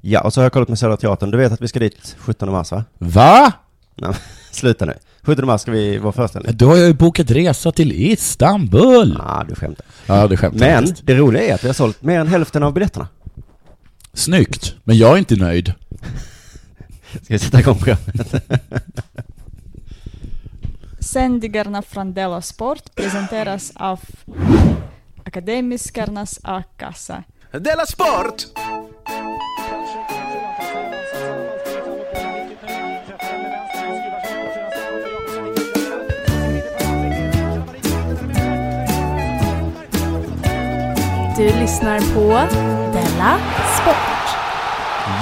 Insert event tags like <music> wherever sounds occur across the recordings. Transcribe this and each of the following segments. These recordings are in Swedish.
Ja, och så har jag kollat med Södra Teatern. Du vet att vi ska dit 17 mars va? Va? Nej, <laughs> men sluta nu. 17 mars ska vi vara föreställning. Då har jag ju bokat resa till Istanbul! Ah, du skämtar. Ja, det skämtar jag Men faktiskt. det roliga är att vi har sålt mer än hälften av biljetterna. Snyggt. Men jag är inte nöjd. Ska vi sätta igång programmet? Sändningarna från Della Sport presenteras av Akademiskarnas A-kassa. Della Sport! Du lyssnar på Della Sport.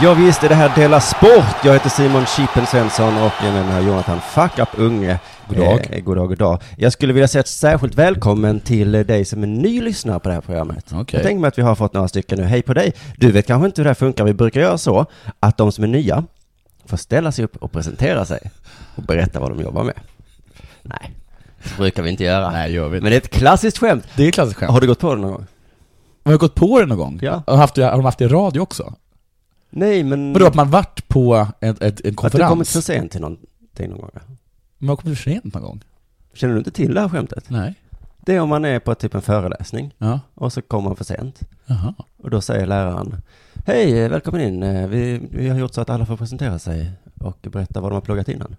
ja, visst är det här Dela Sport. Jag heter Simon Chippen Svensson och jag är med mig här Jonathan Fuck Up Unge. God dag. Eh, god dag, god dag. Jag skulle vilja säga ett särskilt välkommen till eh, dig som är ny lyssnare på det här programmet. Okej. Jag tänker mig att vi har fått några stycken nu. Hej på dig! Du vet kanske inte hur det här funkar. Vi brukar göra så att de som är nya får ställa sig upp och presentera sig och berätta vad de jobbar med. Nej, det brukar vi inte göra. Nej, gör vi Men inte. det är ett klassiskt skämt. Det är klassiskt skämt. Har Har du gått på det någon gång? jag gått på det någon gång? Ja. Har, haft, har de haft det i radio också? Nej, men... Vadå, att man varit på ett, ett, en Att du kommit konferens? för sent till någonting någon gång? ja. Men har kommit för sent någon gång? Känner du inte till det här skämtet? Nej. Det är om man är på typ en föreläsning Ja. och så kommer man för sent. Jaha. Och då säger läraren Hej, eh, välkommen in. Eh, Vi, vi har gjort så att alla får presentera sig och berätta vad de har pluggat innan.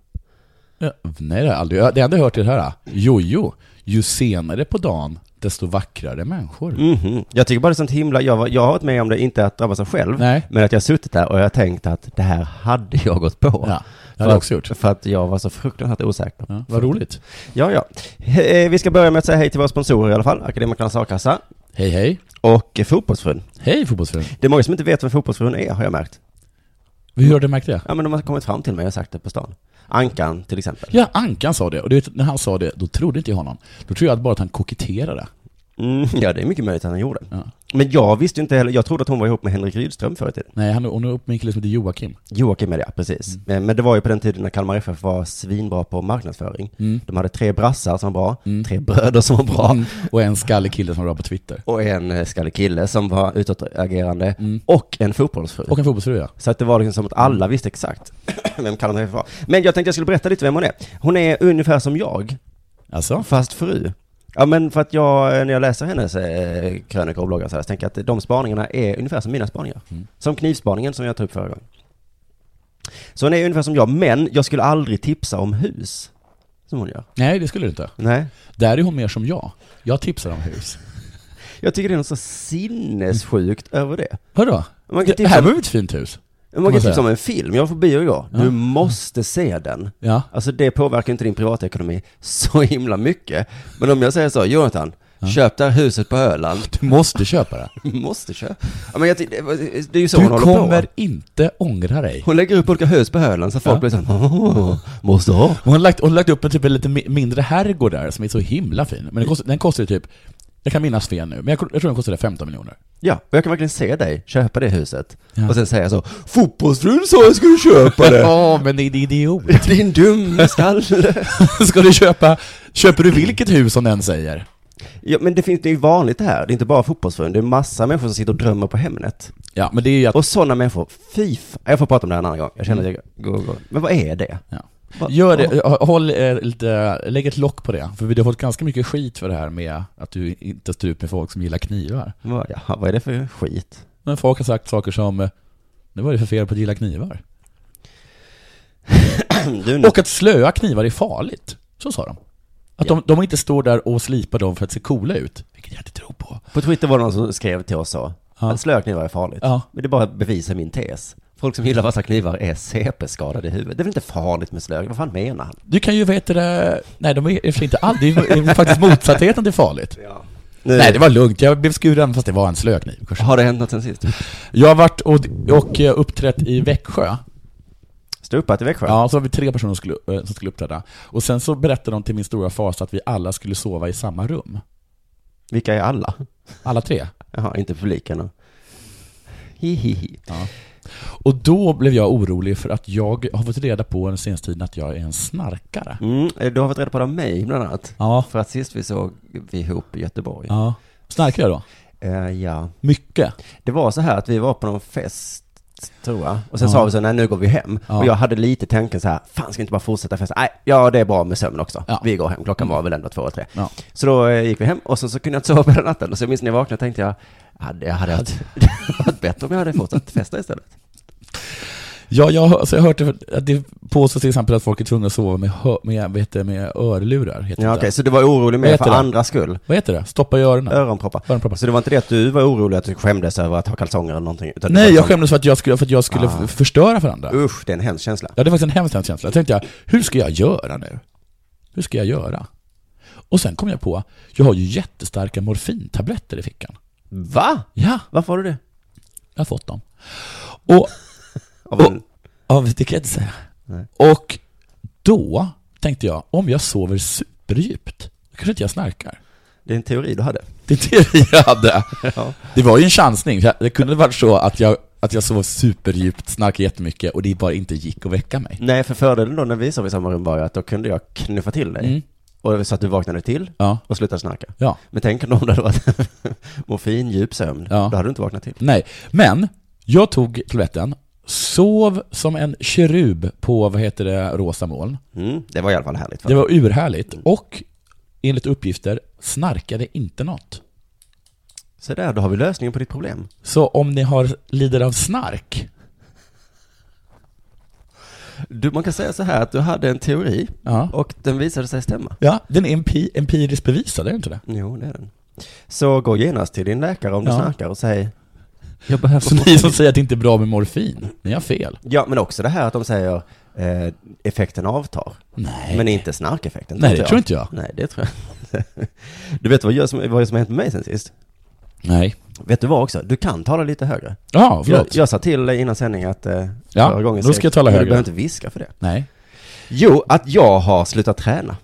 Ja, nej, det har jag aldrig. Det enda jag hört är det här. Jojo, ju senare på dagen, desto vackrare människor. Mhm. Jag tycker bara det är sånt himla, jag, var- jag har varit med om det, inte att drabbas av själv, Nej. men att jag har suttit där och jag har tänkt att det här hade jag gått på. Ja, det För har jag att- också gjort. För att jag var så fruktansvärt osäker. Ja, vad roligt. Ja, ja. He- eh, Vi ska börja med att säga hej till våra sponsorer i alla fall, Akademikernas A-kassa Hej, hej. och eh, Fotbollsfrun. Hej, fotbollsfrun. Det är många som inte vet vem Fotbollsfrun är, har jag märkt. Hur har du märkt det? Ja, men de har kommit fram till mig och sagt det på stan. Ankan, till exempel. Ja, Ankan sa det. Och du vet, när han sa det, då trodde inte jag honom. Då tror jag att bara att han koketterade. Mm, ja, det är mycket möjligt att han gjorde. Ja. Men jag visste ju inte heller, jag trodde att hon var ihop med Henrik Rydström förr i tiden. Nej, han, hon är upp med en kille som heter Joakim. Mm. Joakim är det, ja, precis. Eh, Men det var ju på den tiden när Kalmar FF var svinbra på marknadsföring. Mm. De hade tre brassar som var bra, tre bröder som var bra, Och en skallig kille som var på Twitter. Mm. och en eh, skallig kille som var utåtagerande, och en fotbollsfru. Och en fotbollsfru, ja. Så att det var liksom som att alla visste exakt <clears throat> vem Kalmar FF var. Men jag tänkte jag skulle berätta lite vem hon är. Hon är ungefär som jag, Alltså? Fast fru. Ja men för att jag, eh, när jag läser hennes eh, krönikor och bloggar så, här, så tänker jag att de spaningarna är ungefär som mina spaningar. Mm. Som knivspaningen som jag tog upp förra gången. Så hon är ungefär som jag, men jag skulle aldrig tipsa om hus. Som hon gör. Nej, det skulle du inte. Nej. Där är hon mer som jag. Jag tipsar om hus. Jag tycker det är något så sinnessjukt över det. Vadå? Man kan Det tipsa här om- var väl ett fint hus? Man kan man tipsa säga. om en film, jag var på bio igår. Du måste se den. Ja. Alltså det påverkar inte din privatekonomi så himla mycket. Men om jag säger så, Jonathan, köp det här huset på Öland. <laughs> Du måste köpa det. Måste köpa. Ja, men jag, ty- det det är ju så Du hon håller kommer på. inte ångra dig. Hon lägger upp olika hus på hölen så folk Ja. blir såhär, "Åh, måste ha. Hon har lagt, hon har lagt upp en typ en lite mi- mindre herrgård där som är så himla fin. Men den kostar, den kostar ju typ, jag kan minnas fel nu, men jag, jag tror den kostade 15 miljoner. Ja, och jag kan verkligen se dig köpa det huset. Ja. Och sen säga så, fotbollsfrun sa jag skulle köpa det. Ja, men din idiot. <laughs> Din dumme skalle. <laughs> Ska du köpa, köper du vilket hus som den säger? Ja, men det finns, det är ju vanligt det här. Det är inte bara fotbollsfrun, det är massa människor som sitter och drömmer på Hemnet. Ja, men det är ju att, Och sådana människor, fy fan. Jag får prata om det här en annan gång. Jag känner att jag går, går. Men vad är det? ja. Gör det, håll, eh, lite, lägg ett lock på det, för vi har fått ganska mycket skit för det här med att du inte står ut med folk som gillar knivar. Vad- jaha, vad är det för skit? Men folk har sagt saker som eh, ”Nu var det för fel på att gilla knivar”. Du, Och att slöa knivar är farligt, så sa de. Att de, de inte står där och slipar dem för att se coola ut. Vilket jag inte tror på. På Twitter var det någon som skrev till oss så. Att slöknivar är farligt. Ja. Men det bara bevisar min tes. Folk som gillar vassa knivar är CP-skadade i huvudet. Det är väl inte farligt med slök? Vad fan menar han? Du kan ju veta det... Nej, de är i och för sig inte alls... Det är ju faktiskt motsatsheten till farligt. Nu- Nej, det var lugnt. Jag blev skuren fast det var en slökniv. Har det hänt något sen sist? Jag har varit och, och eh, uppträtt i Växjö. Ståuppat i Växjö? Ja, så var vi tre personer som skulle, eh, som skulle uppträda. Och sen så berättade de till min stora fas att vi alla skulle sova i samma rum. Vilka är alla? Alla tre. Jaha, inte publiken då. Hihihi. Ja. Och då blev jag orolig för att jag har fått reda på den senaste tiden att jag är en snarkare. Mm, eh, du har fått reda på det av mig bland annat. Ja. För att sist vi såg vi ihop i Göteborg. Ja. Snarkar jag då? Eh, ja. Mycket. Det var så här att vi var på någon fest, tror jag. Och sen Ja. sa vi så, nej nu går vi hem. Ja. Och jag hade lite tanken så här, fan ska vi inte bara fortsätta festa? Nej, ja det är bra med sömn också. Ja. Mm. Vi går hem, klockan var väl ändå två och tre. Ja. Så då eh, gick vi hem och så, så kunde jag inte sova på hela natten. Och så jag minns när jag vaknade tänkte jag, hade, jag hade haft, det hade varit bättre om jag hade fortsatt festa istället. Ja, jag, har- alltså jag har hört det- att det påstås till exempel att folk är tvungna att sova med, hö, med, vet det, med örlurar. Heter Ja, det. okej, så du var orolig Vad med heter för det? andra skull? Vad heter det? Stoppa i öronen? Öronproppar. Öronproppar. Så det var inte det att du var orolig att du skämdes över att ha kalsonger eller någonting? utan det var Nej, jag liksom- skämdes för att jag skulle, för att jag skulle Ah. f- förstöra för andra. Usch, det är en hemsk känsla. Ja, det var faktiskt en hemskt hemsk känsla. Jag tänkte jag, hur ska jag göra nu? Hur ska jag göra? Och sen kom jag på, jag har ju jättestarka morfintabletter i fickan. Va? Ja, Varför har du det? jag har fått dem. Och, <laughs> Av en... av, det kan jag inte säga. Nej. Och då tänkte jag, om jag sover superdjupt, då kanske inte jag snarkar. Det är en teori du hade. Det är det jag hade. <laughs> Ja. Det var ju en chansning. för jag- Det kunde varit så att jag, att jag sov superdjupt, snarkade jättemycket och det bara inte gick att väcka mig. Nej, för fördelen då när vi sov i samma rum var ju att då kunde jag knuffa till dig. Mm. Och så att du vaknade till Ja. och slutade snarka. Ja. Men tänk om det hade varit <laughs> morfin, djup sömn. Ja. Då hade du inte vaknat till. Nej, men jag tog tabletten, sov som en kerub på, vad heter det, rosa moln. Mm, det var i alla fall härligt. För Det var urhärligt och enligt uppgifter snarkade inte något. Så där, då har vi lösningen på ditt problem. Så om ni har lider av snark, Du, man kan säga så här att du hade en teori Ja. och den visade sig stämma. ja, den är empi- empiriskt bevisad, är den inte det? Jo, det är den. Så gå genast till din läkare om du Ja. snarkar och säg Jag behöver Så Alltså, ni som säger att det inte är bra med morfin, ni har fel. Ja, men också det här att de säger eh, effekten avtar. Nej. Men inte snarkeffekten. Nej, det tror inte jag. Nej, det tror jag inte. <laughs> Du vet vad, jag, som- vad som har hänt med mig sen sist? Nej. Vet du vad också? Du kan tala lite högre. Ja, Jag, förlåt. jag sa till dig innan sändning att eh, Ja, förra gången då ska jag tala men högre. Du behöver inte viska för det. Nej. Jo, att jag har slutat träna.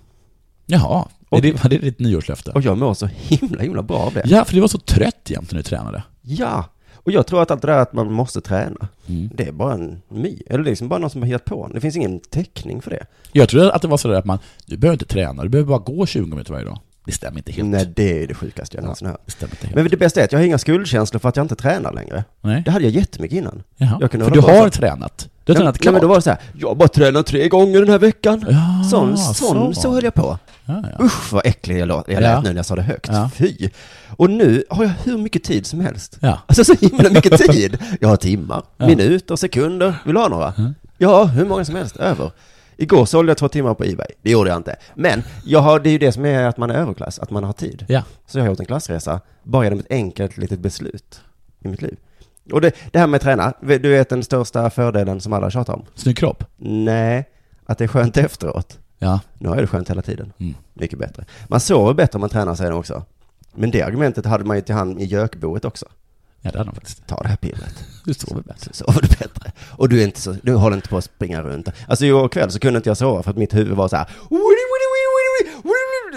Jaha, är det, var det ditt nyårslöfte? Och jag mår så himla, himla bra av det. Ja, för du var så trött jämt när du tränade. Ja. Och jag tror att allt det där att man måste träna, Mm. det är bara en my. Eller liksom bara någon som har hittat på en. Det finns ingen täckning för det. Jag tror att det var sådär att man, du behöver inte träna, du behöver bara gå 20 minuter varje dag. Det stämmer inte helt. Nej, det är det sjukaste jag Ja, någonsin hört. det stämmer inte helt. Men det bästa är att jag har inga skuldkänslor för att jag inte tränar längre. Nej. Det hade jag jättemycket innan. Jaha. Jag kunde För du hålla på har så. tränat. Du har tränat nej, men klart. då var det så här, jag har bara tränat tre gånger den här veckan. Ja, sån, sån, så. så. höll jag på. Ja, ja. Usch vad äcklig jag, lå- jag lät Ja. nu när jag sa det högt. Ja. Fy. Och nu har jag hur mycket tid som helst. Ja. Alltså så himla mycket tid. Jag har timmar, minuter, sekunder. Vill du ha några? Ja, hur många som helst. Över. Igår sålde jag två timmar på Ebay. Det gjorde jag inte. Men jag har, det är ju det som är att man är överklass, att man har tid. Ja. Så jag har gjort en klassresa, bara genom ett enkelt litet beslut i mitt liv. Och det, det här med att träna, du vet den största fördelen som alla tjatar om? Snygg kropp. Nej, att det är skönt efteråt. Ja. Nu har jag det skönt hela tiden. Mm. Mycket bättre. Man sover bättre om man tränar, säger de också. Men det argumentet hade man ju till han i gökboet också. ja, det hade de faktiskt. Ta det här pillret. Du sover <laughs> bättre. Så sover du bättre. Och du, är inte så, du håller inte på att springa runt. Alltså igår kväll så kunde inte jag sova för att mitt huvud var så här.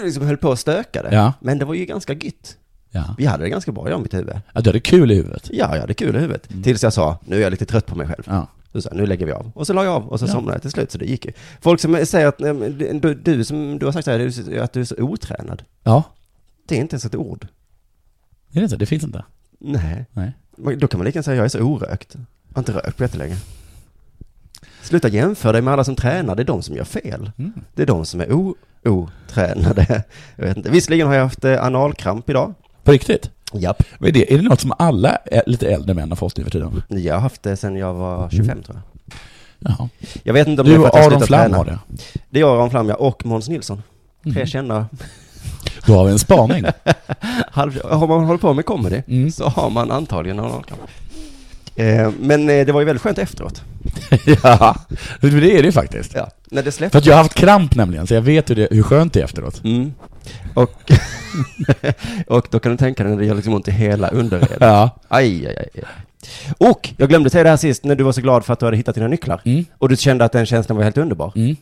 Liksom höll på att stöka det. Ja. Men det var ju ganska gytt. Ja. Vi hade det ganska bra, jag och mitt huvud. ja, du hade kul i huvudet. Ja, jag hade kul i huvudet. Tills jag sa, nu är jag lite trött på mig själv. Ja. Så sa jag, nu lägger vi av. Och så la jag av och så somnade jag till slut, så det gick ju. Folk som säger att, nej, men du- du, du som, du har sagt så här, du- att du är så otränad. Ja, Det är inte ens ett ord. är det inte? Det finns inte. Nej. Nej. Men Då kan man lika gärna säga, jag är så orökt. Jag har inte rökt på jättelänge. Sluta jämföra dig med alla som tränar, det är de som gör fel. Det är de som är o- otränade. Jag vet inte. Visserligen har jag haft eh, analkramp idag. På riktigt? Japp. Vad är det? Är det något som alla ä- lite äldre män har fått nu för tiden? Jag har haft det sedan jag var 25 tror jag. Jaha. Jag vet inte om Du det är för att och jag Aron slutat Flam träna. har det. Det är jag, Aron Flam, ja, och Måns Nilsson. Tre kända. Då har vi <laughs> en spaning. Mm. Halv, har man hållit på med comedy så har man antagligen analkramp. Eh, men eh, det var ju väldigt skönt efteråt. <laughs> ja, men det är det ju faktiskt. Ja, när det släppte. För att jag har haft kramp nämligen, så jag vet hur, det, hur skönt det är efteråt. Mm. Och, och då kan du tänka dig när det gör liksom ont i hela underredet. Ja. Aj, aj, aj, aj. Och jag glömde säga det här sist när du var så glad för att du hade hittat dina nycklar. Mm. Och du kände att den känslan var helt underbar. Mm.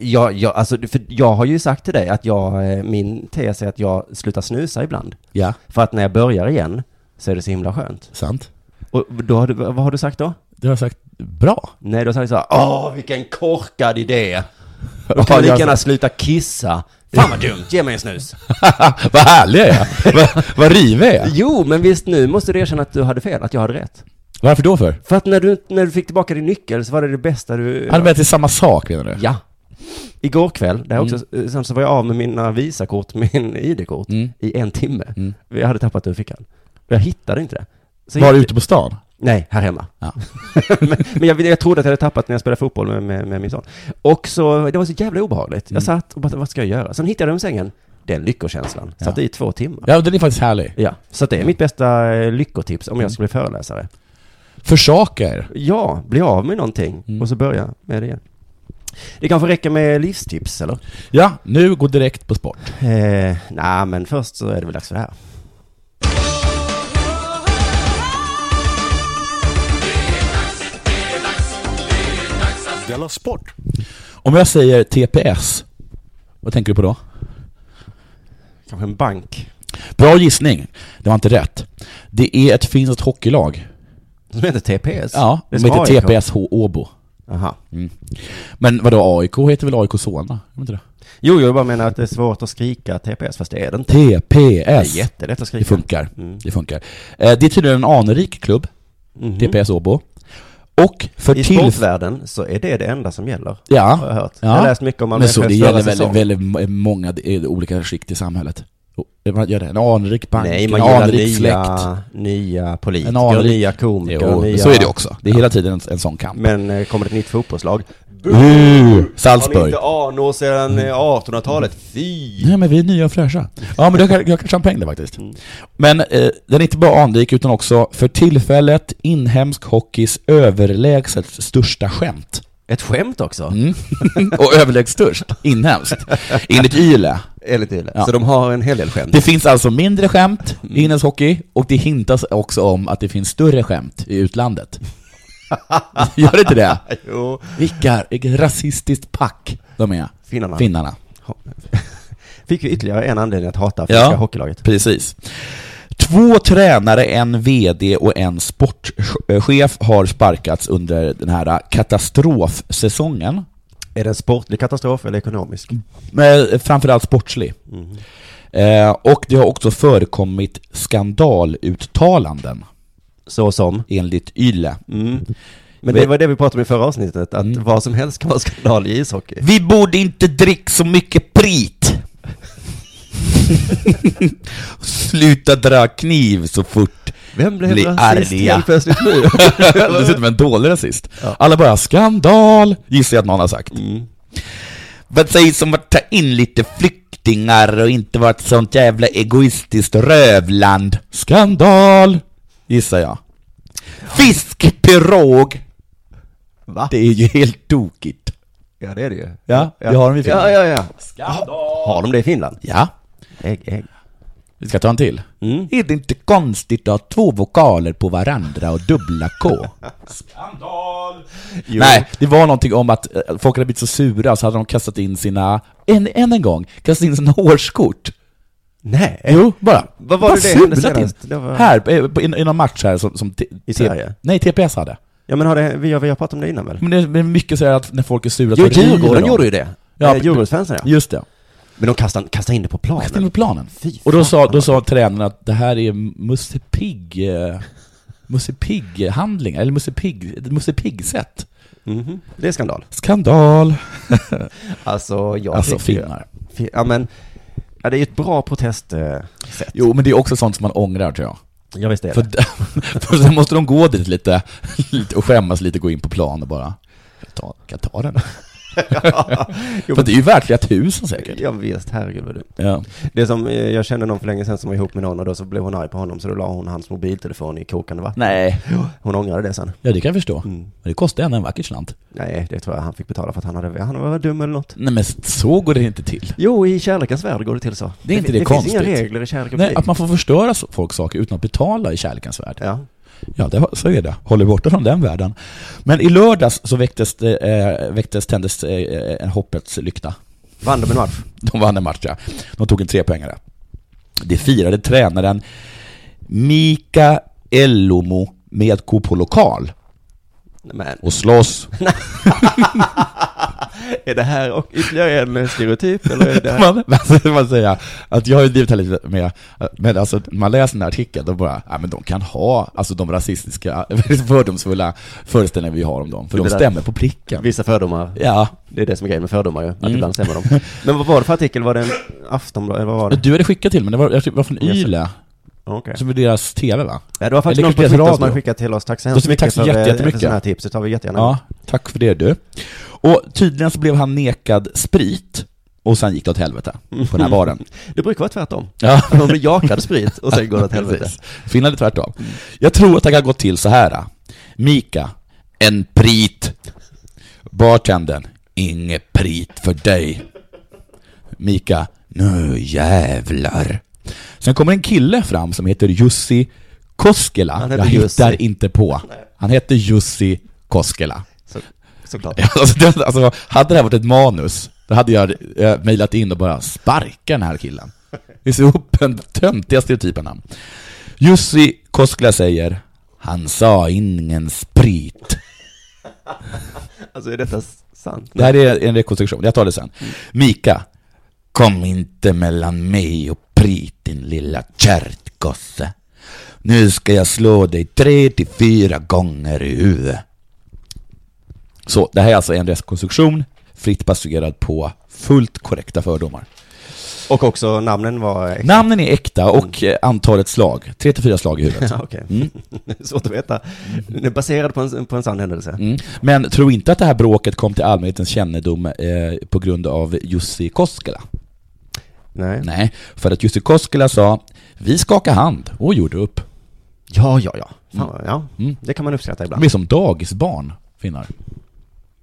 Jag, jag, alltså, för jag har ju sagt till dig att jag, eh, min tes är att jag slutar snusa ibland. Ja, För att när jag börjar igen så är det så himla skönt. sant. Och då har du, vad har du sagt då? Det har jag sagt bra. <laughs> Nej, då sa jag så här, åh vilken korkad idé. Då Ja, kan jag lika jag- gärna sluta kissa. Fan vad dumt, ge mig en snus. <laughs> vad härlig <laughs> jag är. Vad, vad rivig jag är. Jo, men visst nu måste du erkänna att du hade fel, att jag hade rätt. Varför då för? För att när du, när du fick tillbaka din nyckel så var det det bästa du... Hade med till samma sak menar du? Ja. Igår kväll, där också, eh, sen så var jag av med mina Visakort, <laughs> min ID-kort, Mm. i en timme. Mm. Jag hade tappat det ur fickan. Jag hittade inte det. Så Var du gick- ute på stan? Nej, här hemma. Ja. <laughs> men men jag, jag trodde att jag hade tappat när jag spelade fotboll med, med, med min son. Och så, det var så jävla obehagligt. Jag Mm. satt och bara, vad ska jag göra? Sen hittade jag dem i sängen. Den lyckokänslan. Satt i två timmar. Ja, den är faktiskt härlig. Ja, så att det är mitt bästa eh, lyckotips Mm. om jag skulle bli föreläsare. Försaker. Ja, bli av med någonting Mm. och så börja med det igen. Det kanske räcker med livstips, eller? Ja, nu gå direkt på sport. Eh, Nej, men först så är det väl dags för det här. Della Sport. Om jag säger TPS, vad tänker du på då? Kanske en bank Bra gissning. Det var inte rätt. Det är ett finskt hockeylag. som heter TPS. Ja, det de som heter AIK. TPSH Åbo. Mm. Aha. Men vadå AIK heter väl AIK Solna? Gör de inte det? Jo, jag bara menar att det är svårt att skrika TPS, fast det är det inte. Det är TPS. jättelätt att skrika. Det funkar. Mm. Det funkar. Eh, Det är tydligen en anrik klubb, Mhm. TPS Åbo. Och för I tillfället... sportvärlden så är det det enda som gäller. Har jag Ja. hört. Ja. Jag har läst mycket om Malmö Men så FF det förra gäller säsongen. väldigt, väldigt många eh, olika skikt i samhället. Och, eh, Man gör det. En anrik bank, Nej, en man gillar anrik nya, släkt. nya En politiker, anrik- nya komiker, Jo, nya... så är det också. Det är hela tiden en, en sån kamp. Men eh, kommer det ett nytt fotbollslag? Uh, Har ni Salzburg. inte anor sedan eh, 1800-talet? Fy! Nej men vi är nya och fräscha. Ja men jag kan, jag kan champagne det faktiskt. Mm. Men eh, den är inte bara anrik utan också för tillfället inhemsk hockeys överlägset största skämt. Ett skämt också? Mm. <laughs> och överlägset störst, inhemskt. Enligt YLE. Enligt Yle. Ja. Så de har en hel del skämt? Det finns alltså mindre skämt Mm. i inhemsk hockey och det hintas också om att det finns större skämt <laughs> i utlandet. Gör det inte det? Jo. Vilka, vilket rasistiskt pack de är. Finnarna. Finnarna. Fick ju ytterligare en anledning att hata Ja. finska hockeylaget. Precis. Två tränare, en VD och en sportchef har sparkats under den här katastrofsäsongen. Är det en sportlig katastrof eller ekonomisk? Men framförallt sportslig. Mm. Eh, och det har också förekommit skandaluttalanden Så som? Mm. enligt YLE. Men det var det vi pratade om i förra avsnittet, att vad som helst kan vara skandal i ishockey. Vi borde inte dricka så mycket prit. Sluta dra kniv så fort Vem blev Bli rasist arga. helt plötsligt <laughs> nu? Dessutom en dålig rasist. Alla bara skandal, gissar jag att någon har sagt. Mm. Vad sägs om att ta in lite flyktingar och inte vara ett sånt jävla egoistiskt rövland? Skandal, gissar jag. Fiskpirog, Va? det är ju helt tokigt. Ja, det är det ju. Ja, det har de i Finland. Ja, ja, ja. Har de det i Finland? Ja, Ägg, ägg. vi ska ta en till. Mm. Är det inte konstigt att ha två vokaler på varandra och dubbla <laughs> K? Jo. Nej, det var någonting om att eh, folk hade blivit så sura så hade de kastat in sina, än, än en gång, kastat in sina <laughs> årskort. Nej. Jo, bara. Eh, Vad var bara det det hände surat in. senast? Det var- Här, eh, på- i, i någon match här som, som t- I t- Sverige? Nej, TPS hade. Ja, men har det, vi, har, vi har pratat om det innan väl? Men det är- det är mycket så här att när folk är sura Jo, så river Djurgården de. gjorde ju det. Ja, Ja, Djurgårdsfansen ja. Just det. Men de kastade, kastade in det på Kastade in planen. på planen. Fy Och då fan, sa, då vad sa tränaren att det här är Musse Pigg eh, Musse Pigg-handlingar, eller Musse Pigg- ett Musse Pigg-sätt. Det är skandal. Skandal! Alltså, jag Alltså, tycker ju- finnar. Fi- Ja, men ja, det är ju ett bra protestsätt. Jo, men det är också sånt som man ångrar tror jag. Ja, visst är För, det. <laughs> för sen måste de gå dit lite, lite och skämmas lite, gå in på plan och bara ta, kan jag ta den? Jo, för det är ju värt flera tusen säkert. Ja, visst, herregud vad dumt. Ja. Det som, eh, jag kände någon för länge sedan som var ihop med någon och då så blev hon arg på honom så då la hon hans mobiltelefon i kokande vatten. Nej. Hon ångrade det sen. Ja, det kan jag förstå. Mm. Men det kostar ändå en vacker slant. Nej, det tror jag han fick betala för att han, hade, han var dum eller något. Nej, men så går det inte till. Jo, i kärlekens värld går det till så. Det är inte det, det konstigt. finns inga regler i kärleken. Nej, att man får förstöra så- folks saker utan att betala i kärlekens värld. Ja. Ja, det, så är det. Håll er borta från den världen. Men i lördags så väcktes, det, eh, väcktes tändes eh, en hoppets lykta. Vann de en match? De vann en match, ja. De tog en trepoängare. Det firade tränaren Mika Ellomo med att gå på lokal Men, och slåss. är det här och ytterligare en eh, stereotyp eller är det <laughs> här? Man, alltså, man säga att jag har ju drivit här lite med, men alltså när man läser den här artikeln, då bara, ja men de kan ha, alltså de rasistiska, <laughs> fördomsfulla föreställningar vi har om dem, för Det de där- stämmer på pricken. Vissa fördomar. Ja, Det är det som är grejen med fördomar ju, att ibland stämmer <laughs> de. Men vad var det för artikel? Var det en Eh, Aftonbladet, eller vad var det? du hade skickat till mig, det var, jag tror det var från Yes. Ah, Yle, Okej. som är deras TV va? Ja, det var faktiskt Eller någon på kanske Twitter radio. som hade skickat till oss. Tack så Då hemskt ska vi mycket tacka för, jätte- eh, för jättemycket. sådana här tips. Det tar vi jättegärna Ja, tack för det du. Och tydligen så blev han nekad sprit, och sen gick det åt helvete på den här baren. Det brukar vara tvärtom. Ja. De blir jakade sprit och sen går <laughs> det åt helvete. Precis. Finland är tvärtom. Jag tror att det kan gå till så här. äh. Mika, en prit. Bartendern, inget prit för dig. Mika, nu jävlar. Sen kommer en kille fram som heter Jussi Koskela. Han heter Jag Jussi. hittar inte på. Han heter Jussi Koskela. Så, <laughs> såklart. Alltså, det, alltså, hade det här varit ett manus, då hade jag eh, mejlat in och bara sparka den här killen. Det är så upp den töntiga stereotypen han. Jussi Koskela säger, han sa ingen sprit. Alltså är detta s- sant? Det här är en rekonstruktion, jag tar det sen. Mika, kom inte mellan mig och prit din lilla kärtgosse. Nu ska jag slå dig tre till fyra gånger i huvudet. Så det här är alltså en rekonstruktion, fritt baserad på fullt korrekta fördomar. Och också namnen var... eh, Namnen är äkta och eh, antalet slag, tre till fyra slag <laughs> i <laughs> huvudet. Ja, Okej. Svårt att veta. Den är baserad på en, på en sann händelse. Mm. Men tro inte att det här bråket kom till allmänhetens kännedom eh, på grund av Jussi Koskela. Nej. Nej, för att Jussi Koskela sa vi skakar hand och gjorde upp. Ja, ja, ja. Fan, Mm. vad- ja. Det kan man uppskatta ibland. De är som dagisbarn, finnar.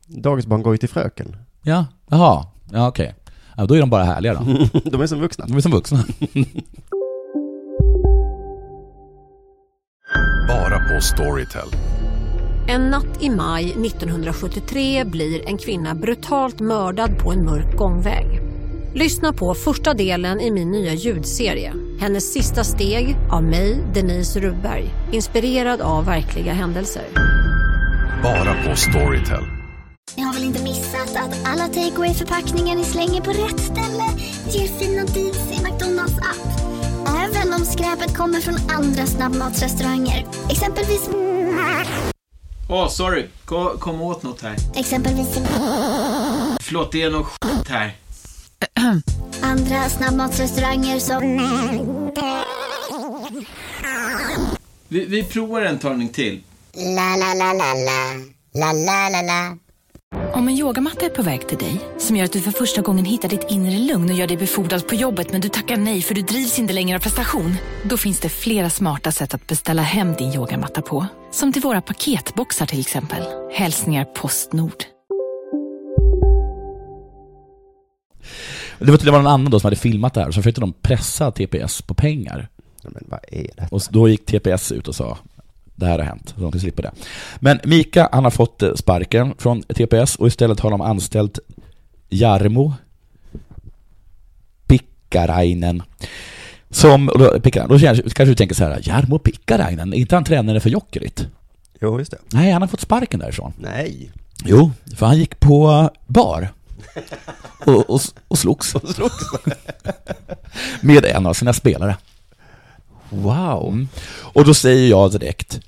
Dagisbarn går ju till fröken. Ja, jaha, ja okej. Ja, då är de bara härliga då. De är som vuxna. <laughs> De är som vuxna. Bara på Storytel. En natt i maj 1973 blir en kvinna brutalt mördad på en mörk gångväg. Lyssna på första delen i min nya ljudserie. Hennes sista steg av mig, Denise Rubberg. Inspirerad av verkliga händelser. Bara på Storytel. Ni har väl inte missat att alla takeaway förpackningar ni slänger på rätt ställe ger fina deals i McDonalds app. Även om skräpet kommer från andra snabbmatsrestauranger. Exempelvis... Åh, sorry. Kom, kom åt något här. Exempelvis... Förlåt, det är något skit här. Andra snabbmatsrestauranger som... Vi, vi provar en talning till. La la la la la. La la la la. Om en yogamatta är på väg till dig, som gör att du för första gången hittar ditt inre lugn och gör dig befordrad på jobbet men du tackar nej för du drivs inte längre av prestation. Då finns det flera smarta sätt att beställa hem din yogamatta på. Som till våra paketboxar till exempel. Hälsningar Postnord. Det var tydligen någon annan då som hade filmat det här, så försökte de pressa TPS på pengar. Men vad är det? Och då gick TPS ut och sa det här har hänt, så de ska slippa det. Men Mika, han har fått eh, sparken från TPS och istället har de anställt Jarmo Pikkarainen. Som, och då, Pikkarainen, då känns- kanske du tänker så här, Jarmo Pikkarainen, är inte han tränare för Jokerit? Jo, just det. Nej, han har fått sparken därifrån. Nej. Jo, för han gick på bar. Och, och, och slogs. <laughs> Mm. Med en av sina spelare. Wow. Och då säger jag direkt,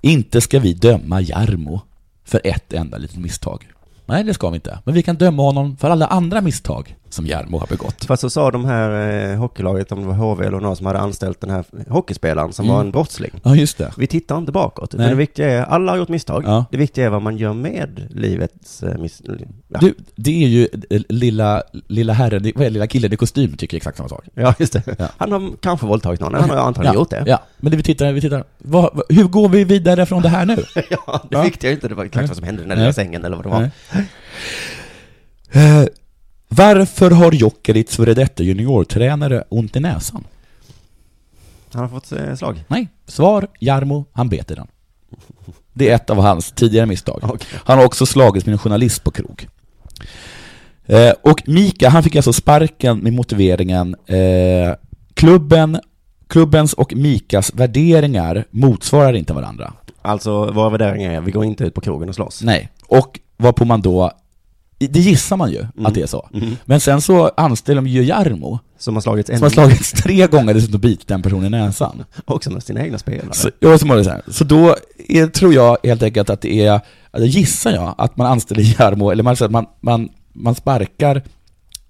Inte ska vi döma Jarmo för ett enda litet misstag. Nej, det ska vi inte. Men vi kan döma honom för alla andra misstag som Jarmo har begått. Fast så sa de här eh, hockeylaget, om det var HV eller någon som hade anställt den här hockeyspelaren som Mm. var en brottsling. Ja, just det. Vi tittar inte bakåt. Nej. Men det viktiga är, alla har gjort misstag. Ja. Det viktiga är vad man gör med livets eh, miss... Ja. Du, det är ju eh, lilla, lilla herren, i- vad är det, lilla killen i kostym tycker exakt samma sak. Ja, just det. Han har kanske våldtagit någon, han har antagligen ja, gjort det. Ja, men det vi tittar, vi tittar, vad, vad- hur går vi vidare från det här nu? <laughs> ja, det viktiga är inte det var exakt vad som hände i den där Nej. lilla sängen eller vad det var. Nej. Eh, varför har Jokerits före detta juniortränare ont i näsan? Han har fått eh, slag. Nej, svar Jarmo, han bet i den. Det är ett av hans tidigare misstag. Han har också slagits med en journalist på krog. Eh, och Mika, han fick alltså sparken med motiveringen eh, klubben, klubbens och Mikas värderingar motsvarar inte varandra. Alltså, våra värderingar är, vi går inte ut på krogen och slåss. Nej, och varpå man då, det gissar man ju att det är så. Mm. Men sen så anställer de ju Jarmo. Som har slagits Som har slagits tre gånger dessutom bitit en person i näsan. Också med sina egna spelare. Så, ja, som har det så, här. så då är, tror jag helt enkelt att det är, alltså gissar jag, att man anställer Jarmo, eller man, så att man, man, man sparkar,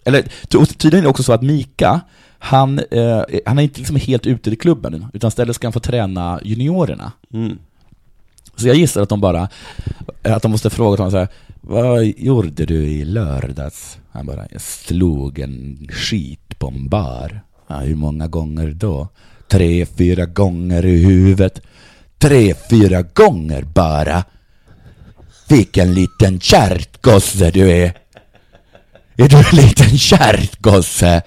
eller ty- och tydligen är det också så att Mika, han, eh, han är inte liksom helt ute i klubben, utan istället ska han få träna juniorerna. Så jag gissar att de bara, att de måste fråga honom så här, vad gjorde du i lördags? Han bara, jag slog en skit på en bar. Ja, hur många gånger då? Tre, fyra gånger i huvudet. Tre, fyra gånger bara. Vilken liten kärtgosse du är. Är du en liten kärtgosse?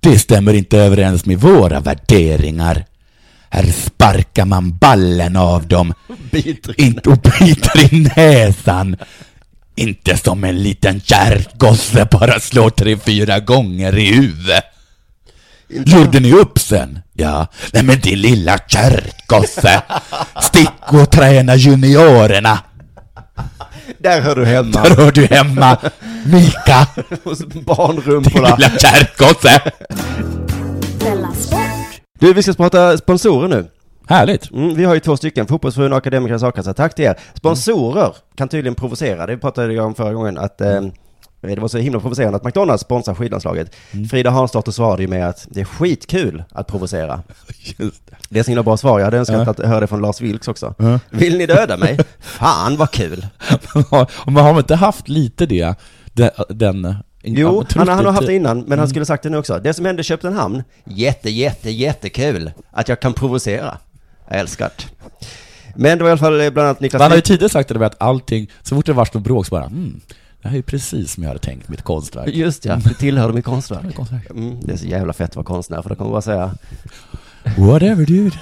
Det stämmer inte överens med våra värderingar. Här sparkar man ballen av dem. Biter Inte och biter i näsan. Inte som en liten kärtgosse bara slår tre, fyra gånger i huvudet. Gjorde ni upp sen? Ja. Nej men din lilla kärtgosse. Stick och träna juniorerna. <laughs> Där hör du hemma. <laughs> Där hör du hemma. Mika. Barnrumporna. Din lilla kärtgosse. Du, vi ska prata sponsorer nu. Härligt. Mm, vi har ju två stycken, Fotbollsfrun och Akademikernas A-kassa. Tack till er. Sponsorer kan tydligen provocera. Det pratade jag om förra gången att eh, det var så himla provocerande att McDonalds sponsrar skidlandslaget. Mm. Frida Hansdotter svarade ju med att det är skitkul att provocera. <laughs> det. är så himla bra svar. Jag hade önskat Ja. att höra det från Lars Vilks också. Ja. Vill ni döda mig? Fan vad kul! Man har, man har inte haft lite det, den... den Jo, han, han har haft det innan, men han Mm. skulle sagt det nu också. Det som hände i Köpenhamn, jätte, jätte, jättekul att jag kan provocera. Jag älskar det. Men det var i alla fall eh, bland annat Niklas... Man har ju tidigare sagt det där med att allting, så fort det var något bråk så bara mm, det här är ju precis som jag hade tänkt mitt konstverk. Just ja, det <laughs> tillhör mitt konstverk. konstverk. Mm, det är så jävla fett att vara konstnär, för då kan man bara säga... Whatever dude.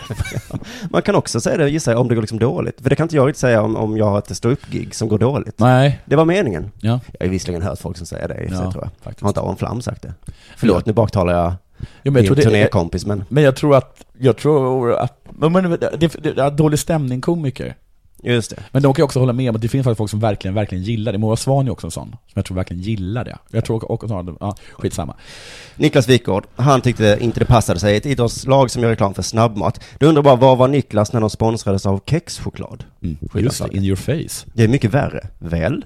man kan också säga det, gissar jag, om det går liksom dåligt. För det kan inte jag riktigt säga om, om jag har ett ståuppgig som går dåligt. Nej. Det var meningen. Ja. Jag har visserligen hört folk som säger det, i och för sig, Ja, tror jag. faktiskt. Har inte Aron Flam sagt det? Förlåt, nu baktalar jag, Jo, din men jag tror det- turnékompis, men... Men jag tror att, jag tror att, men, men, det, det, det, dålig stämning komiker. Just det. Men de kan ju också hålla med om att det finns faktiskt folk som verkligen, verkligen gillar det. Moa Svahn är också en sån, som jag tror verkligen gillar det. Jag tror också, ja, skitsamma. Niklas Wikgård, han tyckte inte det passade sig. Ett idrottslag som gör reklam för snabbmat. Du undrar bara, var var Niklas när de sponsrades av kexchoklad? Mm. Just det, Skidlandslaget. in your face. Det är mycket värre. Väl?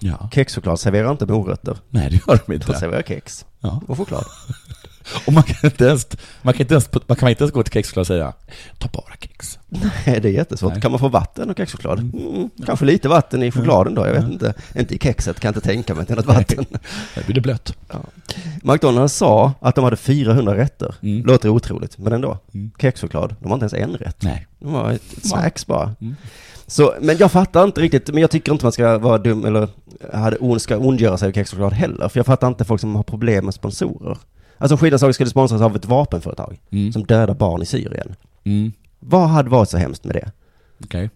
Ja. Kexchoklad serverar inte morötter. Nej, det gör de inte. De serverar kex. Ja. Och choklad. <laughs> Och man kan inte ens, man kan inte ens, man kan inte ens gå till kexchoklad och säga, ta bara kex. Nej, det är jättesvårt. Nej. Kan man få vatten och kexchoklad? Mm, kanske lite vatten i chokladen då, jag vet inte. Inte i kexet, kan jag inte tänka mig <laughs> att det är något vatten. Där blir det blött. Ja. McDonalds sa att de hade 400 rätter. Mm. Låter otroligt, men ändå. Kexchoklad, de har inte ens en rätt. Nej. De har ett ett snacks bara. Mm. Så, men jag fattar inte riktigt, men jag tycker inte man ska vara dum eller hade, on- ska ondgöra sig över kexchoklad heller. För jag fattar inte folk som har problem med sponsorer. Alltså om skidlandslaget skulle sponsras av ett vapenföretag Mm. som dödar barn i Syrien. Mm. Vad hade varit så hemskt med det? Okej.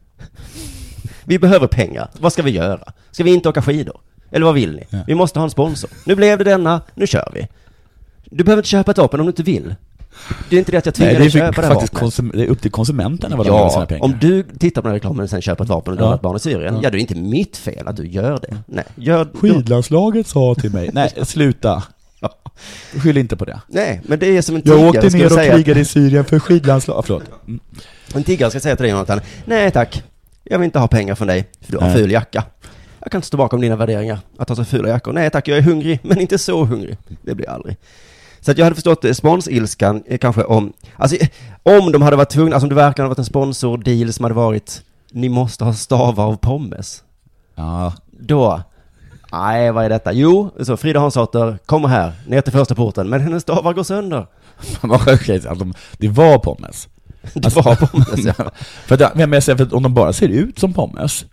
Vi behöver pengar. Vad ska vi göra? Ska vi inte åka skidor? Eller vad vill ni? Vi måste ha en sponsor. Nu blev det denna, nu kör vi. Du behöver inte köpa ett vapen om du inte vill. Det är inte det att jag tvingar Nej, dig det att köpa är det här faktiskt vapnet. konsum, det är upp till konsumenterna vad de gör med sina Ja, pengar. om du tittar på den här reklamen och sen köper ett vapen och Ja. dödar ett barn i Syrien, Ja. ja. det är inte mitt fel att du gör det. Nej, gör... Skidlandslaget sa till mig, nej sluta. Skyll inte på det. Nej, men det är som en Jag tiggare åkte skulle ner och säga att- krigade i Syrien för skidlandslaget. Förlåt. En tiggare ska säga till dig Jonathan, nej tack, jag vill inte ha pengar från dig, för du har Nej. ful jacka. Jag kan inte stå bakom dina värderingar, att ha så fula jackor. Nej tack, jag är hungrig, <laughs> men inte så hungrig. Det blir jag aldrig. Så att jag hade förstått eh, sponsilskan eh, kanske om, alltså eh, om de hade varit tvungna, alltså om det verkligen hade varit en sponsordeal som hade varit, ni måste ha stavar av pommes. Ja. Då, nej vad är detta? Jo, så Frida Hansdotter, kommer här, ner till första porten, men hennes stavar går sönder. Vad sjukt att de, det var pommes. <laughs> Alltså, Det var pommes, ja. <laughs> för att, men jag säger, för att om de bara ser ut som pommes,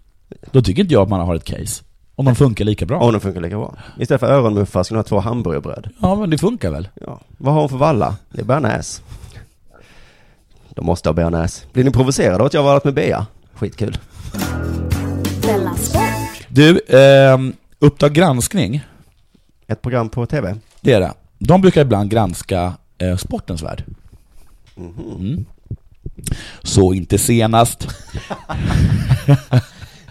då tycker inte jag att man har ett case. Om de funkar lika bra. Om de funkar lika bra. Istället för öronmuffar ska ni ha två hamburgerbröd. Ja, men det funkar väl? Ja. Vad har hon för valla? Det är bearnaise. De måste ha bearnaise. Blir ni provocerade av att jag har varit med Bea? Skitkul. Della Sport. Du, ehm, Uppdrag granskning. Ett program på TV. Det är det. De brukar ibland granska eh, sportens värld. Mm. Så inte senast.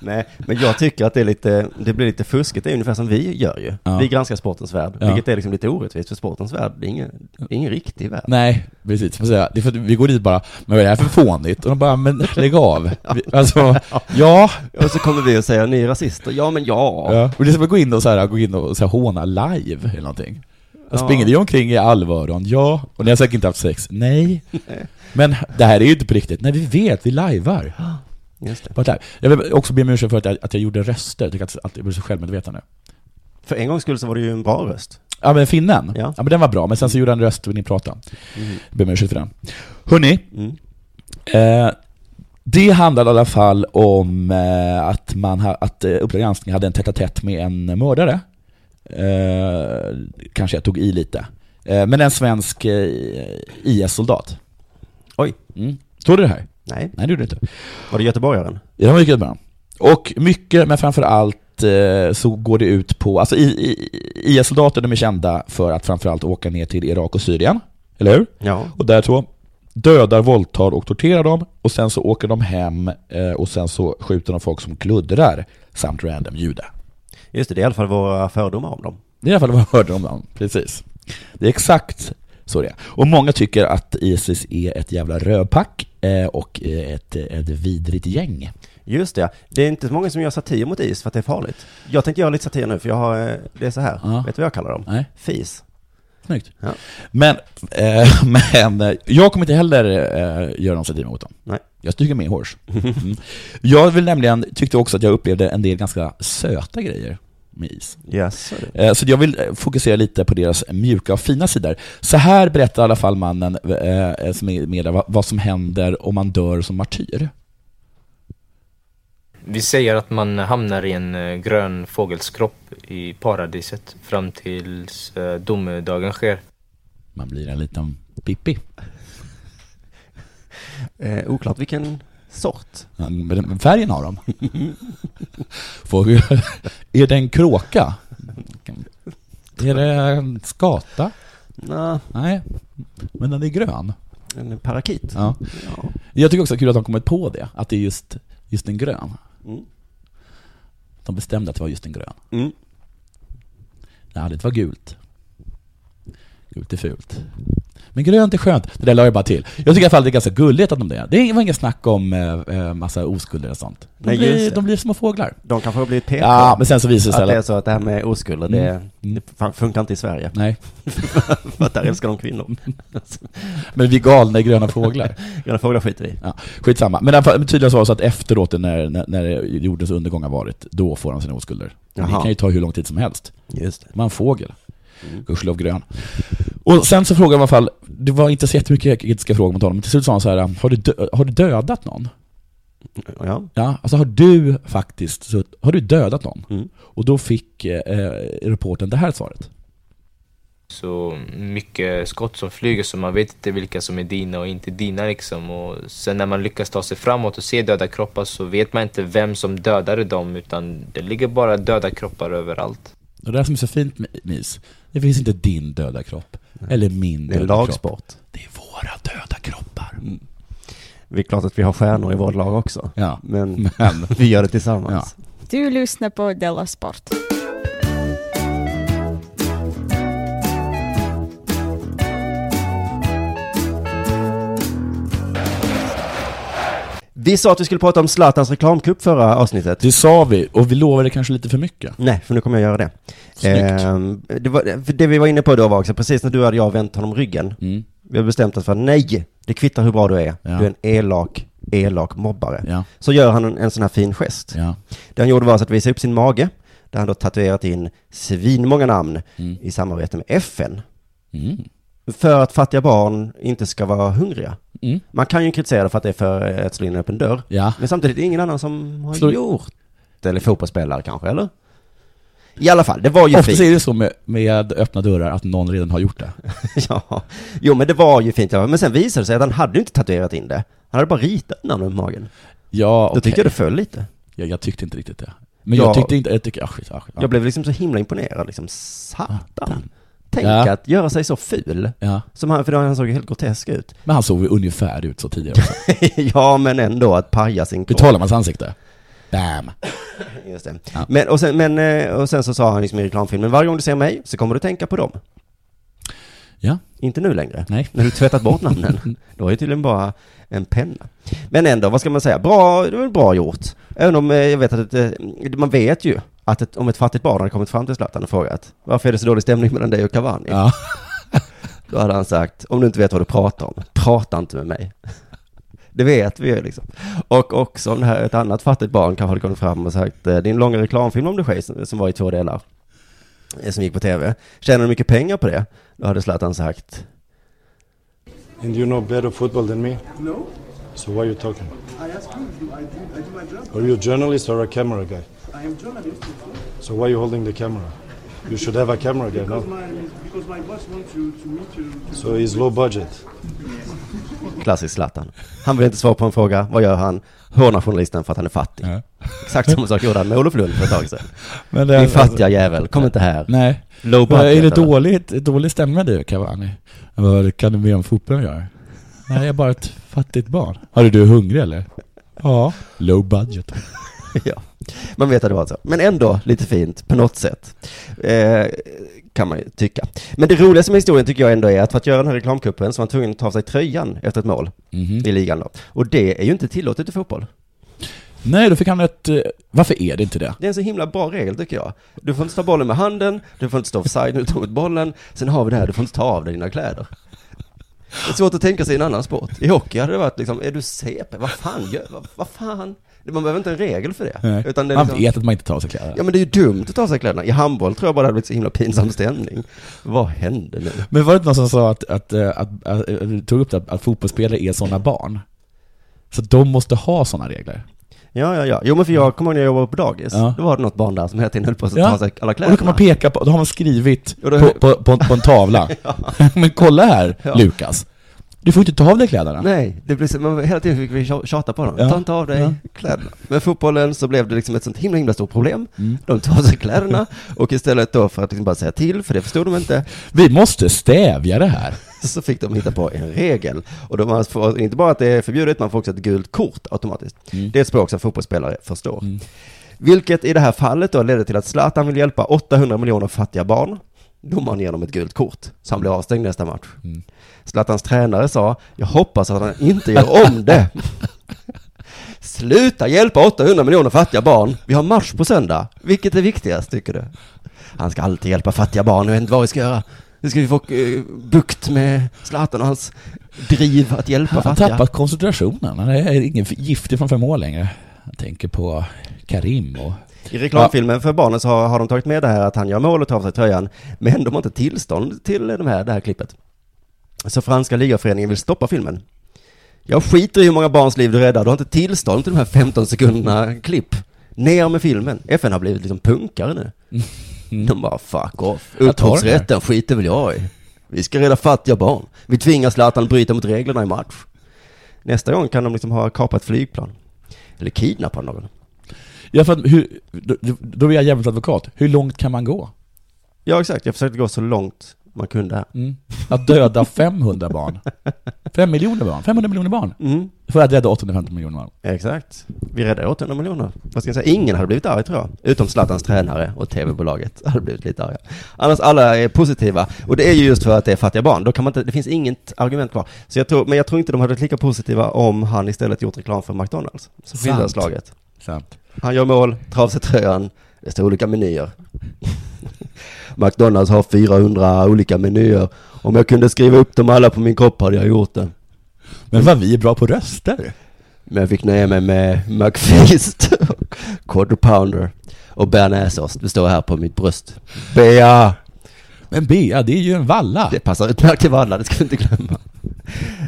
Nej, men jag tycker att det, är lite, det blir lite fuskigt. Det är ungefär som vi gör ju. Ja. Vi granskar sportens värld, Ja. vilket är liksom lite orättvist för sportens värld. Det är ingen, det är ingen riktig värld. Nej, precis. Får säga, Det är för att vi går dit bara, men vad är det här för fånigt? Och de bara, men lägg av. Vi, alltså, ja. Och så kommer vi och säger, ni är rasister. Ja, men ja. ja. Och det är som att gå in och, så här, gå in och så här, håna live eller någonting. Jag Ja. springer vi omkring i allvaron? Ja. Och ni har säkert inte haft sex? Nej. Men det här är ju inte på riktigt. Nej, vi vet, vi lajvar. Just det. Bara där. Jag vill också be om ursäkt för att jag, att jag gjorde röster. Jag tycker att, att jag blev så självmedveten nu. För en gångs skull så var det ju en bra röst. Ja men finnen, ja. men den var bra, men sen så gjorde han en röst och ni pratade. Mm. Jag ber om ursäkt för den. Hörni, eh, det handlar i alla fall om eh, att, man ha, att eh, Uppdrag granskning hade en tätt tätt med en mördare. Eh, kanske jag tog i lite. Eh, men en svensk eh, IS-soldat. Oj. Mm. Såg du det här? Nej. Nej, det gjorde du inte. Var det göteborgaren? Ja, det var mycket bra. Och mycket, men framförallt eh, så går det ut på, alltså i- i- i- IS-soldater de är kända för att framförallt åka ner till Irak och Syrien, eller hur? Ja. Och där så dödar, våldtar och torterar dem och sen så åker de hem eh, och sen så skjuter de folk som kluddrar samt random jude. Just det, det är i alla fall våra fördomar om dem. Det är i alla fall vad jag hörde om dem, precis. Det är exakt så det är. Och många tycker att ISIS är ett jävla rövpack eh, och eh, ett, ett vidrigt gäng. Just det, det är inte så många som gör satir mot is för att det är farligt. Jag tänker göra lite satir nu för jag har, eh, det är så här, vet du vad jag kallar dem? Nej. Fis. Snyggt. Men, eh, <laughs> men eh, jag kommer inte heller eh, göra någon satir mot dem. Nej. Jag tycker med hårs. Mm. Jag vill nämligen, tyckte också att jag upplevde en del ganska söta grejer med is. Yes. Eh, Så jag vill eh, fokusera lite på deras mjuka och fina sidor. Så här berättar i alla fall mannen eh, som är med där vad- vad som händer om man dör som martyr. Vi säger att man hamnar i en eh, grön fågelskropp i paradiset fram tills eh, domedagen sker. Man blir en liten pippi. Eh, oklart vilken sort. Ja, Men färgen har de. <laughs> Får, <laughs> är det en kråka? Är det en skata? Nej. Nej, men den är grön. En parakit. Ja. Jag tycker också det är kul att de kommit på det, att det är just, just en grön. Mm. De bestämde att det var just en grön. Mm. Nej, det var gult. Gult är fult. Men grönt är skönt. Det där la jag bara till. Jag tycker i alla fall det är ganska gulligt att de det. Det var inget snack om eh, eh, massa oskulder och sånt. De Nej, just blir, det. de blir små fåglar. De kanske har blivit petade. Ja, men sen så visar det sig Att det alla- är så att det här med oskulder, det, Mm. det fan- funkar inte i <laughs> Sverige. Nej. för att där älskar de <laughs> kvinnor. Men vi är galna i gröna fåglar. gröna fåglar skiter vi i. Ja, skitsamma. Men i alla fall, tydligen så var det så att efteråt, när, när, när jordens undergång har varit, då får han sina oskulder. Men Det Jaha. kan ju ta hur lång tid som helst. Just det. Man en fågel. Gudskelov grön. Och sen så frågade man i alla fall, det var inte så jättemycket kritiska frågor mot honom, men till slut sa han så här, har du, dö- har du dödat någon? Ja. Ja, alltså har du faktiskt, så, har du dödat någon? Mm. Och då fick eh, reporten det här svaret. Så mycket skott som flyger så man vet inte vilka som är dina och inte dina liksom. Och sen när man lyckas ta sig framåt och se döda kroppar så vet man inte vem som dödade dem utan det ligger bara döda kroppar överallt. Och det där som är så fint med Nis, det finns inte din döda kropp, eller min Det är döda lagsport. Mm. kropp. Det är våra döda kroppar. Det är klart att vi har stjärnor i vårt lag också. Ja. Men, <laughs> Men- vi gör det tillsammans. Du lyssnar på Della Sport. Vi sa att vi skulle prata om Zlatans reklamkupp förra avsnittet. Det sa vi, och vi lovade kanske lite för mycket. Nej, för nu kommer jag göra det. Snyggt. Ehm, det, var, för det vi var inne på då var också, precis när du hade jag vänt honom ryggen. Mm. Vi har bestämt oss för att nej, det kvittar hur bra du är. Du är en elak, elak mobbare. Så gör han en, en sån här fin gest. Det han gjorde var alltså att visa upp sin mage, där han då tatuerat in svinmånga namn i samarbete med FN. Mm. För att fattiga barn inte ska vara hungriga. Mm. Man kan ju kritisera det för att det är för eh, att slå in en öppen dörr. Men samtidigt är det ingen annan som har Slå- gjort det. Eller fotbollsspelare kanske, eller? I alla fall, det var ju Ofta fint. är det så med, med öppna dörrar att någon redan har gjort det. <laughs> ja. Jo men det var ju fint. Men sen visade det sig att han hade ju inte tatuerat in det. Han hade bara ritat namnet på magen. Ja, Då okej. tyckte jag det föll lite. Jag, jag tyckte inte riktigt det. Men jag Ja. tyckte inte, jag tycker, ah, skit, ah, skit, ah. Jag blev liksom så himla imponerad liksom. Satan. Tänk Ja. att göra sig så ful. Ja. Som han, för då han såg ju helt grotesk ut. <laughs> Men han såg ju ungefär ut så tidigare också. ja men ändå att paja sin kropp. Betalar man hans ansikte? Bam! Just det. Men, och, sen, men, eh, och sen så sa han liksom i reklamfilmen, varje gång du ser mig så kommer du tänka på dem. Ja. Inte nu längre. Nej. När du tvättat bort namnen. Då är det tydligen bara en penna. Men ändå, vad ska man säga? Bra, det var väl bra gjort. Även om eh, jag vet att ett, eh, man vet ju att ett, om ett fattigt barn hade kommit fram till Zlatan och frågat varför är det så dålig stämning mellan dig och Cavani? Då hade han sagt, om du inte vet vad du pratar om, prata inte med mig. <laughs> Det vet vi ju liksom. Och också om det här, ett annat fattigt barn kanske hade kommit fram och sagt, eh, din långa reklamfilm om dig själv som- som var i två delar, eh, som gick på tv, tjänar du mycket pengar på det? Då hade Zlatan sagt, And you know better football than me? No. So why are you talking? I ask you, do I do, I do my job? Are you a journalist or a camera guy? I am journalist. So why are you holding the camera? You should have a camera guy, Because, no? my, because my boss wants to, to meet you. To So he's low budget. klassisk Zlatan. Han vill inte svara på en fråga, vad gör han? Hånar journalisten för att han är fattig. Exakt samma sak gjorde han med Olof Lund för ett tag sedan. <laughs> Men <laughs> det- Din fattiga jävel, kom inte här. Nej. Low Vad budget, Är det eller? dåligt, dålig stämning med dig, Cavani? Vad kan du mer om fotbollen göra? Nej, jag är bara ett fattigt barn. Hörru, du är hungrig eller? Ja. Low budget. ja, man vet att det var så. Men ändå lite fint på något sätt. Eh, kan man ju tycka. Men det roligaste med historien tycker jag ändå är att för att göra den här reklamkuppen så var han tvungen att ta av sig tröjan efter ett mål Mhm. i ligan då. Och det är ju inte tillåtet i fotboll. Nej, då fick han ett... eh, Varför är det inte det? Det är en så himla bra regel tycker jag. Du får inte ta bollen med handen, du får inte stå offside när du tar ut bollen, sen har vi det här, du får inte ta av dig dina kläder. Det är svårt att tänka sig en annan sport. I hockey hade det varit liksom, är du CP? Vad fan gör, vad, vad fan? Man behöver inte en regel för det. Nej. det är man liksom- vet att man inte tar av sig kläderna. Ja men det är ju dumt att ta av sig kläderna. I handboll tror jag bara det hade blivit så himla pinsam stämning. Vad hände nu? Men var det inte någon som sa att, att, eh, att, att, eh, tog upp det, att, att fotbollsspelare är sådana barn? Så de måste ha sådana regler. Ja, ja, ja. Jo men för jag kommer ihåg när jag jobbade på dagis. Ja. Då var det något barn där som hela tiden höll på att Alltså, ta av sig alla Och kläderna. då kan man peka på, då har man skrivit Och då- på, på, på, på <laughs> en tavla. <laughs> Men kolla här, Ja. Lukas. Du får inte ta av dig kläderna. Nej, det blev så, man, hela tiden fick vi tja- tjata på dem. Ja. Ta inte av dig Ja. kläderna. Men fotbollen så blev det liksom ett sånt himla himla stort problem. Mm. De tar av sig kläderna och istället då för att liksom bara säga till, för det förstod de inte. Vi måste stävja det här. Så fick de hitta på en regel. Och de får, inte bara att det är förbjudet, man får också ett gult kort automatiskt. Mm. Det är ett språk som fotbollsspelare förstår. Vilket i det här fallet då ledde till att Zlatan vill hjälpa 800 miljoner fattiga barn. Domaren ger honom ett gult kort, så han blir avstängd nästa match. Zlatans tränare sa, jag hoppas att han inte gör om det. Sluta hjälpa 800 miljoner fattiga barn. Vi har match på söndag. Vilket är viktigast, tycker du? Han ska alltid hjälpa fattiga barn. Jag vet inte vad vi ska göra. Nu ska vi få eh, bukt med Zlatan och hans driv att hjälpa Han har fattiga. tappat koncentrationen. Han är ingen giftig från fem år längre. Jag tänker på Karim och... I reklamfilmen för barnen så har, har de tagit med det här att han gör mål och tar av sig tröjan, men de har inte tillstånd till de här, det här klippet. Så franska ligaföreningen vill stoppa filmen. Jag skiter i hur många barns liv du räddar, du har inte tillstånd till de här 15 sekunderna klipp. Ner med filmen. FN har blivit liksom punkare nu. De bara fuck off. Mm. Jag tar den Upphovsrätten skiter väl jag i. Vi ska rädda fattiga barn. Vi tvingar Zlatan att bryta mot reglerna i match. Nästa gång kan de liksom ha kapat flygplan. Eller kidnappat någon. Ja, för att hur, då, då är jag jävligt advokat. Hur långt kan man gå? Ja, exakt. Jag försökte gå så långt man kunde. Mm. <laughs> Att döda 500 barn. 5 miljoner barn. 500 miljoner barn. Mm. För att rädda 850 miljoner barn. Exakt. Vi räddade 800 miljoner. Vad ska jag säga? Ingen hade blivit arg tror jag. Utom Zlatans tränare och tv-bolaget <laughs> hade blivit lite arga. Annars alla är positiva. Och det är ju just för att det är fattiga barn. Då kan man inte, det finns inget argument kvar. Så jag tror, men jag tror inte de hade varit lika positiva om han istället gjort reklam för McDonalds. Så skildrar Sant. slaget. Sant. Han gör mål, tar av sig tröjan. Det står olika menyer. <laughs> McDonalds har 400 olika menyer. Om jag kunde skriva upp dem alla på min kropp hade jag gjort det. Men vad vi är bra på röster. Men jag fick nöja mig med <laughs> McFeast, Quarter Pounder och bearnaisesås. Det står här på mitt bröst. Bea! Men Bea, det är ju en valla. Det passar utmärkt till valla, det ska vi inte glömma.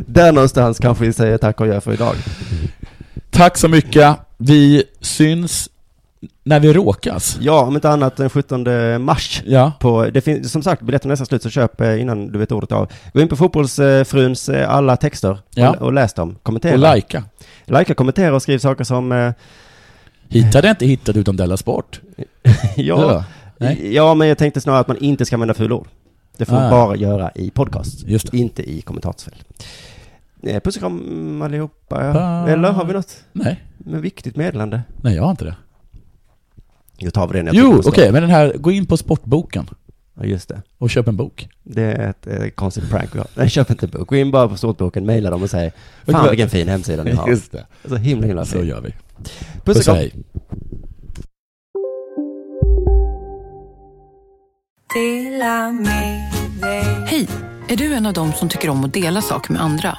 Där någonstans kanske vi säger tack och gör för idag. Tack så mycket. Vi syns när vi råkas. Ja, om inte annat den 17 mars. Ja. På, det finns, som sagt, biljetterna är nästan slut, så köp eh, innan du vet ordet av. Gå in på Fotbollsfruns eh, alla texter Ja. och, och läs dem. Kommentera. Och likea. Likea, kommentera och skriv saker som... <laughs> eh, Hittade inte hittade utan Della Sport. Ja, ja, men jag tänkte snarare att man inte ska använda fulord. Det får man Ah. bara göra i podcast, inte i kommentarsfält. Eh, Puss och kram allihopa. Eller har vi något? Nej. Men viktigt meddelande. Nej, jag har inte det. Jag tar vi det när jag Jo, tittar på okej, snart. men den här, gå in på Sportboken. Ja, just det. Och köp en bok. Det är ett eh, konstigt prank vi har. Nej, köp inte bok. Gå in bara på Stortboken, mejla dem och säg Fan vilken fin hemsida ni har. <laughs> Just det. Så himla himla fin. Så gör vi. Puss och Puss och kram. hej. Hej! Är du en av dem som tycker om att dela saker med andra?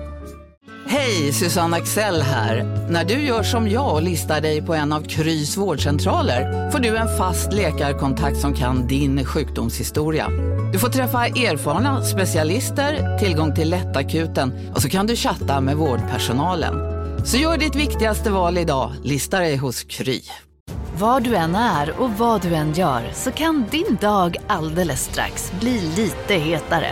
Hej, Susanne Axel här. När du gör som jag och listar dig på en av Krys vårdcentraler får du en fast läkarkontakt som kan din sjukdomshistoria. Du får träffa erfarna specialister, tillgång till lättakuten och så kan du chatta med vårdpersonalen. Så gör ditt viktigaste val idag, lista dig hos Kry. Var du än är och vad du än gör så kan din dag alldeles strax bli lite hetare.